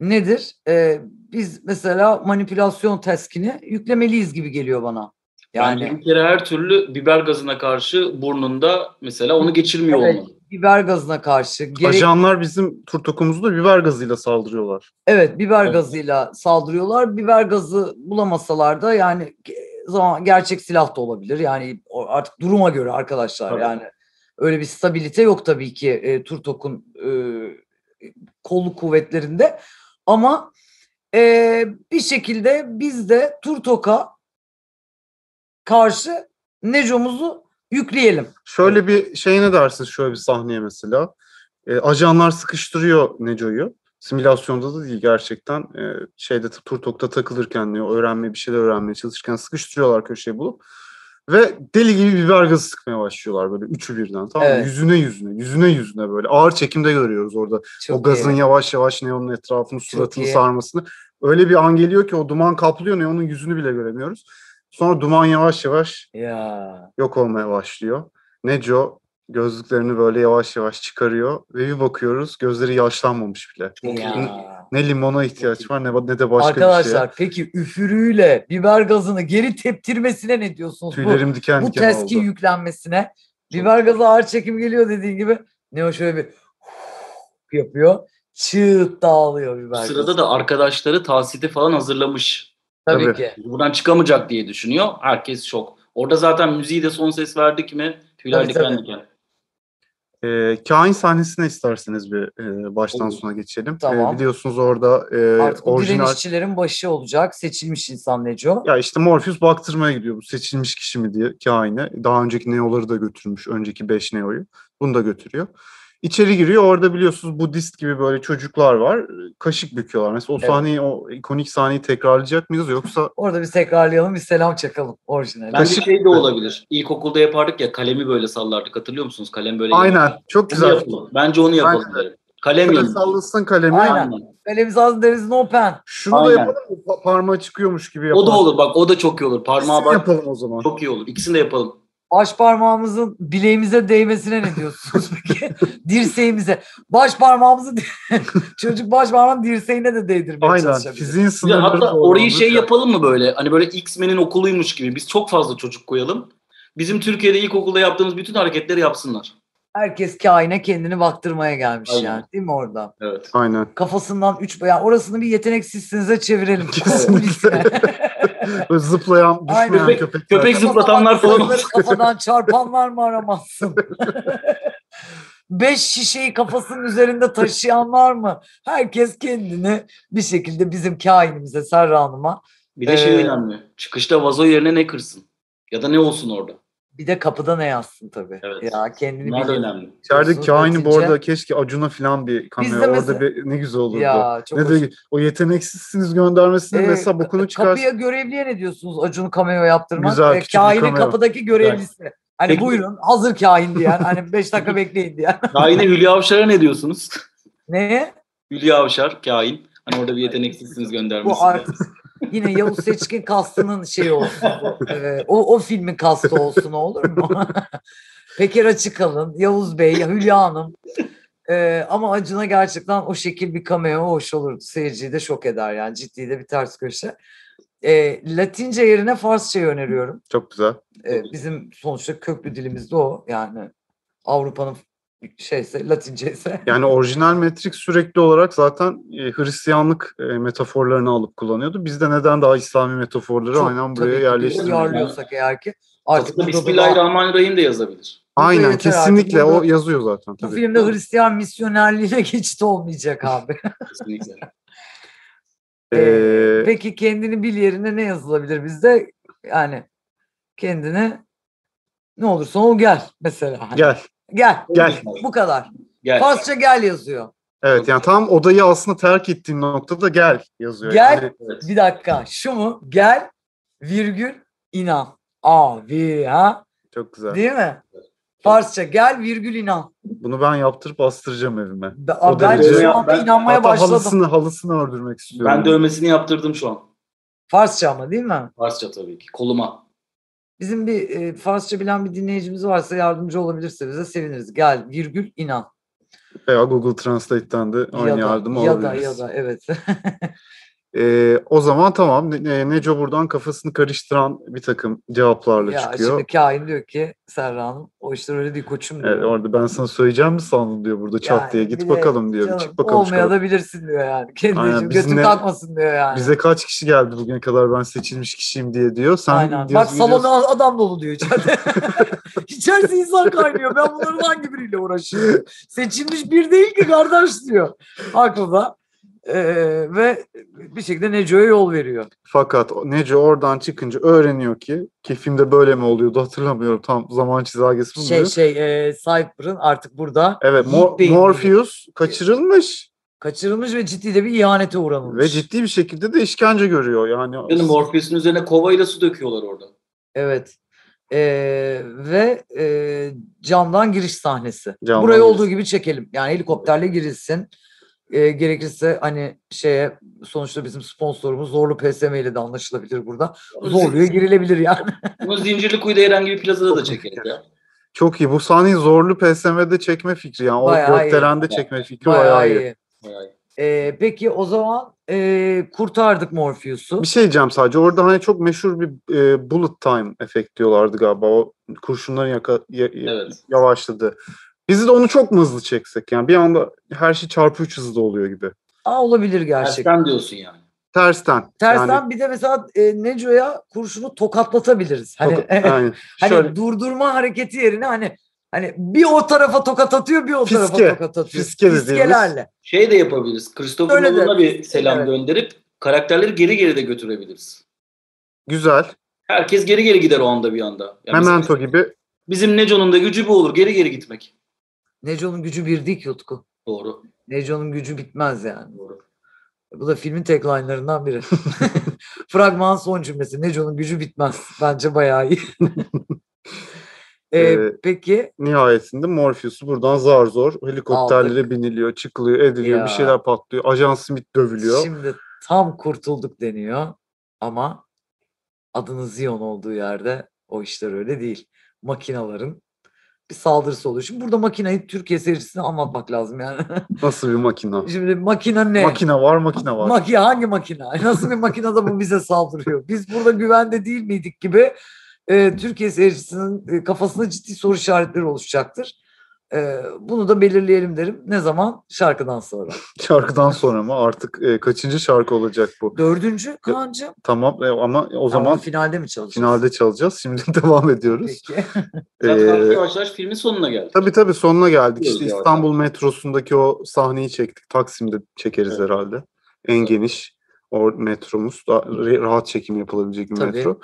nedir? Ee, biz mesela manipülasyon taskini yüklemeliyiz gibi geliyor bana. Yani, bir kere her türlü biber gazına karşı burnunda mesela onu geçirmiyor Evet. olmalı. biber gazına karşı gerek Ajanlar bizim Turtok'umuzu da biber gazıyla saldırıyorlar. Evet biber Evet. gazıyla saldırıyorlar. Biber gazı bulamasalar da yani ge- zaman gerçek silah da olabilir. Yani o- artık duruma göre arkadaşlar Tabii. yani öyle bir stabilite yok tabii ki e, Turtok'un e, kolluk kuvvetlerinde. Ama e, bir şekilde biz de Turtok'a karşı Neco'muzu yükleyelim. Şöyle bir şey ne dersin şöyle bir sahneye mesela. E, ajanlar sıkıştırıyor Neco'yu. Simülasyonda da değil gerçekten. E, şeyde Turtok'ta takılırken ne öğrenmeye bir şeyler öğrenmeye çalışırken sıkıştırıyorlar köşeye bulup. Ve deli gibi biber gazı sıkmaya başlıyorlar böyle üçü birden tamam mı? Evet. Yüzüne yüzüne yüzüne yüzüne böyle ağır çekimde görüyoruz orada. o Çok gazın iyi. yavaş yavaş neonun etrafını suratını iyi. sarmasını. Öyle bir an geliyor ki o duman kaplıyor neonun yüzünü bile göremiyoruz. Sonra duman yavaş yavaş ya yok olmaya başlıyor. Neco Gözlüklerini böyle yavaş yavaş çıkarıyor ve bir bakıyoruz gözleri yaşlanmamış bile. Ya. Ne limona ihtiyaç var ne, ne de başka bir şey. şeye. Arkadaşlar peki üfürüğüyle biber gazını geri teptirmesine ne diyorsunuz? Bu- Tüylerim diken bu diken teski oldu. yüklenmesine biber gazı ağır çekim geliyor dediğin gibi ne o şöyle bir yapıyor. Çıt dağılıyor biber Bu gazı. sırada da arkadaşları tahsiti falan hazırlamış. tabii, Tabii. ki. Buradan çıkamayacak diye düşünüyor. Herkes şok. Orada zaten müziği de son ses verdik mi tüyler Tabii, diken tabii. diken. Ee, kain sahnesine isterseniz bir e, baştan Olur. sona geçelim. Ee, Tamam. biliyorsunuz orada e, Artık bu orijinal... direnişçilerin başı olacak. Seçilmiş insan Neco. Ya işte Morpheus baktırmaya gidiyor bu seçilmiş kişi mi diye kaine. Daha önceki Neo'ları da götürmüş. Önceki 5 Neo'yu. Bunu da götürüyor. İçeri giriyor. Orada biliyorsunuz Budist gibi böyle çocuklar var. Kaşık büküyorlar. Mesela o Evet. sahneyi, o ikonik sahneyi tekrarlayacak mıyız yoksa Orada bir tekrarlayalım bir selam çakalım orijinali. Bence Kaşık- şey de olabilir. İlkokulda yapardık ya kalemi böyle sallardık hatırlıyor musunuz? Kalem böyle. Aynen. Çok Onu güzel. yapalım. Bence onu yapalım. Kalem Böyle yiyin. sallasın kalemi. Aynen. Aynen. Kalemiz az deriz no pen. Şunu Aynen. da yapalım mı? Pa- parmağı çıkıyormuş gibi yapalım. O da olur bak o da çok iyi olur. Parmağa İkisini bak yapalım o zaman. çok iyi olur. İkisini de yapalım. Baş parmağımızın bileğimize değmesine ne diyorsunuz peki? Dirseğimize. Baş parmağımızı çocuk baş parmağının dirseğine de değdirmeye Aynen. çalışabilir. Fiziğin Ya sınırları hatta doğru orayı olur şey ya. yapalım mı böyle? Hani böyle X-Men'in okuluymuş gibi. Biz çok fazla çocuk koyalım. Bizim Türkiye'de ilkokulda yaptığımız bütün hareketleri yapsınlar. Herkes kaine kendini baktırmaya gelmiş Aynen. yani değil mi orada? Evet. Aynen. Kafasından üç bayağı orasını bir yeteneksizsinize çevirelim. Kesinlikle. Böyle zıplayan, düşmeyen Aynen. köpekler. Köpek zıplatanlar falan olsun. Kafadan çarpanlar mı aramazsın? Beş şişeyi kafasının üzerinde taşıyanlar mı? Herkes kendini bir şekilde bizim kainimize, Serra Hanım'a Bir de şey Ee, önemli. Çıkışta vazo yerine ne kırsın? Ya da ne olsun orada? bir de kapıda ne yazsın tabii. Evet. Ya kendini Bunlar da bir- önemli. İçeride Olsun, kaini bu ötece. arada keşke Acun'a falan bir de kamera orada mesela- bir, ne güzel olurdu. Ya çok ne hoş. de, o yeteneksizsiniz göndermesini Ee, mesela bokunu çıkar. Kapıya görevliye ne diyorsunuz Acun'u cameo yaptırmak? Güzel, Ve küçük bir kahinin cameo. kapıdaki görevlisi. Hani Peki- buyurun hazır kahin diyen. Hani 5 dakika bekleyin diyen. Kain'e Hülya Avşar'a ne diyorsunuz? Neye? Hülya Avşar, kain. Hani orada bir yeteneksizsiniz göndermesi. Bu artık yine Yavuz Seçkin kastının şeyi olsun. bu. Ee, o, o filmin kastı olsun olur mu? Peker Açıkalın, Yavuz Bey, Hülya Hanım. Ee, ama Acun'a gerçekten o şekil bir cameo hoş olur. Seyirciyi de şok eder yani. Ciddi de bir ters köşe. Ee, Latince yerine Farsça'yı öneriyorum. Çok güzel. E, bizim sonuçta köklü dilimiz de o. Yani Avrupa'nın şeyse Latince ise. Yani orijinal metrik sürekli olarak zaten e, Hristiyanlık e, metaforlarını alıp kullanıyordu. Biz de neden daha İslami metaforları çok aynen tabii buraya ki yerleştirdik. duyarlı. uyarlıyorsak eğer ki artık Aslında burada da- Bismillahirrahmanirrahim de yazabilir. Aynen yeter artık. kesinlikle o Burada- yazıyor zaten. bu Tabii. filmde Hristiyan misyonerliğine geçit olmayacak abi. Kesinlikle. Ee, Ee, Peki kendini bil yerine ne yazılabilir bizde? Yani kendine ne olursa ol gel mesela. Hani gel Gel. gel. Bu kadar. Gel. Farsça gel yazıyor. Evet yani tam odayı aslında terk ettiğim noktada gel yazıyor. Gel. Yani Evet. Bir dakika. Şu mu? Gel virgül inan. Abi ha. çok güzel. Değil mi? Farsça gel virgül inan. Bunu ben yaptırıp bastıracağım evime. Ben, O ben derece. şu anda Ben- inanmaya Hatta başladım. halısını, halısını ördürmek istiyorum. Ben dövmesini yaptırdım şu an. Farsça ama değil mi? Farsça tabii ki. Koluma. Bizim bir e, Farsça bilen bir dinleyicimiz varsa yardımcı olabilirse bize seviniriz. Gel virgül inan. Veya Google Translate'ten de aynı Ya da, yardım ya da alabiliriz. ya da evet. Ee, o zaman tamam. Ne- Ne- Neco buradan kafasını karıştıran bir takım cevaplarla ya çıkıyor. şimdi kain diyor ki Serra Hanım o işler öyle değil koçum diyor. Evet, Ee, orada ben sana söyleyeceğim mi sandın diyor burada çat Yani diye bir git de bakalım diyor. Bir Canım, Çık bakalım olmaya çıkalım. da bilirsin diyor yani. Aynen, Kendini biz götün ne- takmasın diyor yani. Bize kaç kişi geldi bugüne kadar ben seçilmiş kişiyim diye diyor. Sen Aynen. diyorsun- Bak salona adam dolu diyor içeride. İçerisi insan kaynıyor. Ben bunların hangi biriyle uğraşıyorum? Seçilmiş bir değil ki kardeş diyor. Haklıda. Ee, ve bir şekilde Neco'ya yol veriyor. Fakat o- Neco oradan çıkınca öğreniyor ki ki filmde böyle mi oluyordu hatırlamıyorum tam zaman çizelgesi mi Şey oluyor? şey e, Cypher'ın artık burada Evet Yiğit Mor- Bey'in Morpheus kaçırılmış kaçırılmış ve ciddi de bir ihanete uğramış. ve ciddi bir şekilde de işkence görüyor yani. Yani Morpheus'un üzerine kovayla su döküyorlar orada. Evet. Ee, ve e, camdan giriş sahnesi. Camdan Burayı giriş. olduğu gibi çekelim. Yani helikopterle girilsin. Ee, gerekirse hani şeye sonuçta bizim sponsorumuz Zorlu PSM ile de anlaşılabilir burada. Zorlu'ya girilebilir yani. Bunu Zincirli Kuyu'da herhangi bir plazada da çekeriz ya. Çok iyi. Bu sahneyi zorlu PSM'de çekme fikri yani. O Bayağı iyi. gökdelende çekme fikri bayağı, Bayağı, iyi. iyi. Ee, peki o zaman ee, kurtardık Morpheus'u. Bir şey diyeceğim sadece. Orada hani çok meşhur bir e, bullet time efekt diyorlardı galiba. O kurşunların yaka- ya- ya- Evet. yavaşladı. Biz de onu çok mu hızlı çeksek? Yani bir anda her şey çarpı 3 hızlı oluyor gibi. Aa, olabilir gerçekten. Tersten diyorsun yani. Tersten. Tersten Yani bir de mesela e, Neco'ya kurşunu tokatlatabiliriz. Hani, çok- yani hani şöyle durdurma hareketi yerine hani hani bir o tarafa tokat atıyor bir o Fiske. tarafa tokat atıyor. Fiske dediğimiz- Fiskelerle. Şey de yapabiliriz. Christopher Öyle de. Nolan'a bir selam Evet. gönderip karakterleri geri geri de götürebiliriz. güzel. Herkes geri geri gider o anda bir anda. Yani Memento mesela gibi. Bizim Neco'nun da gücü bu olur. Geri geri gitmek. Neco'nun gücü bir değil ki Utku. Doğru. Neco'nun gücü bitmez yani. Doğru. Bu da filmin tagline'larından biri. Fragman son cümlesi. Neco'nun gücü bitmez. Bence bayağı iyi. Ee, Ee, peki Nihayetinde Morpheus'u buradan zar zor helikopterlere Aldık. biniliyor, çıkılıyor, ediliyor, Ya. bir şeyler patlıyor. Ajan Smith dövülüyor. şimdi tam kurtulduk deniyor ama adının Zion olduğu yerde o işler öyle değil. Makinaların bir saldırısı oluyor. Şimdi burada makinayı Türkiye seyircisine anlatmak lazım yani. Nasıl bir makina? Şimdi makina ne? Makina var, makina var. Maki hangi makina? Nasıl bir makinada bu bize saldırıyor? Biz burada güvende değil miydik gibi e, Türkiye seyircisinin e, kafasında ciddi soru işaretleri oluşacaktır. E, bunu da belirleyelim derim. Ne zaman? Şarkıdan sonra. Şarkıdan sonra mı? Artık e, kaçıncı şarkı olacak bu? Dördüncü Kaan'cığım. Tamam e, ama o O zaman zaman finalde mi çalışacağız? finalde çalacağız. Şimdi devam ediyoruz. Peki. Zaten artık Ee, yavaş yavaş filmin sonuna geldik. Tabii tabii sonuna geldik. İşte Gidiyoruz İstanbul metrosundaki o sahneyi çektik. Taksim'de çekeriz Evet. herhalde. En Evet. geniş o metromuz. Daha re- rahat çekim yapılabilecek bir Tabii. metro.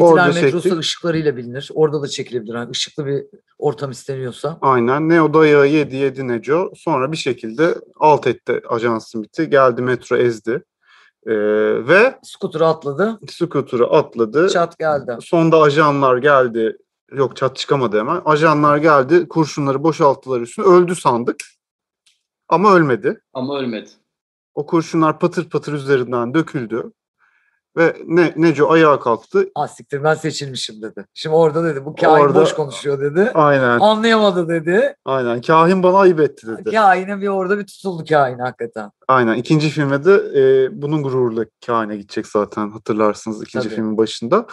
Orada Etiler metrosu çektik. ışıklarıyla bilinir. Orada da çekilebilir. Yani ışıklı bir ortam isteniyorsa. Aynen. Neo dayağı yedi yedi Neco. Sonra bir şekilde alt etti Ajans Smith'i. Geldi metro ezdi. Ee, ve Skutura atladı. skuturu atladı. Çat geldi. Sonda ajanlar geldi. Yok çat çıkamadı hemen. Ajanlar geldi. Kurşunları boşalttılar üstüne. Öldü sandık. Ama ölmedi. Ama ölmedi. O kurşunlar patır patır üzerinden döküldü. Ve ne, Neco ayağa kalktı. Ah siktir ben seçilmişim dedi. Şimdi orada dedi bu kain Orada- boş konuşuyor dedi. Aynen, Anlayamadı dedi. aynen. Kahin bana ayıp etti dedi. Kahine bir orada bir tutuldu kahin hakikaten. Aynen. İkinci filmde de e, bunun gururuyla kahine gidecek zaten hatırlarsınız ikinci Tabii. filmin başında.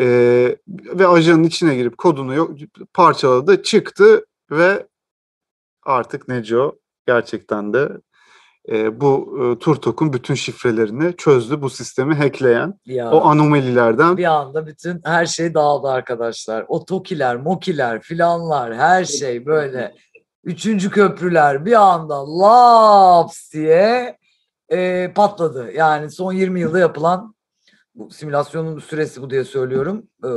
E, ve ajanın içine girip kodunu yok, parçaladı, çıktı ve artık Neco gerçekten de e, bu e, Turtok'un bütün şifrelerini çözdü. Bu sistemi hackleyen Ya. o anomalilerden bir anda bütün her şey dağıldı arkadaşlar. O tokiler, mokiler filanlar her şey böyle. Üçüncü köprüler bir anda laps diye e, patladı. Yani son 20 yılda yapılan bu simülasyonun süresi bu diye söylüyorum. E,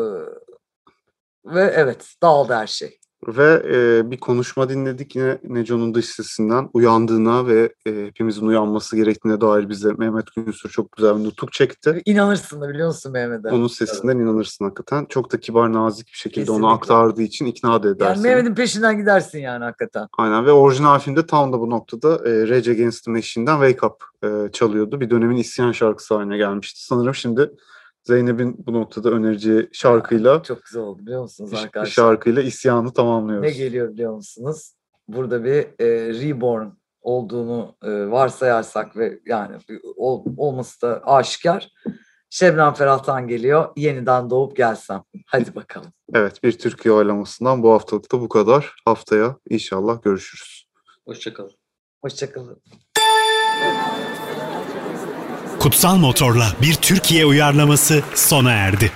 ve evet dağıldı her şey. Ve e, bir konuşma dinledik yine Neco'nun dış sesinden uyandığına ve e, hepimizin uyanması gerektiğine dair bize Mehmet Günsür çok güzel bir nutuk çekti. İnanırsın da biliyor musun Mehmet'e? Onun sesinden inanırsın hakikaten. Çok da kibar nazik bir şekilde onu Kesinlikle. aktardığı için ikna da eder Yani seni. Mehmet'in peşinden gidersin yani hakikaten. Aynen ve orijinal filmde tam da bu noktada e, Rage Against the Machine'den Wake Up e, çalıyordu. Bir dönemin isyan şarkısı haline gelmişti. Sanırım şimdi Zeynep'in bu noktada önereceği şarkıyla Çok güzel oldu biliyor musunuz bir arkadaşlar? şarkıyla isyanı tamamlıyoruz. Ne geliyor biliyor musunuz? Burada bir e, reborn olduğunu e, varsayarsak ve yani bir ol- olması da aşikar. Şebnem Ferah'tan geliyor. Yeniden doğup gelsem. Hadi bakalım. Evet bir Türkiye oylamasından bu haftalık da bu kadar. Haftaya inşallah görüşürüz. Hoşçakalın. Hoşçakalın. Kutsal Motor'la bir Türkiye uyarlaması sona erdi.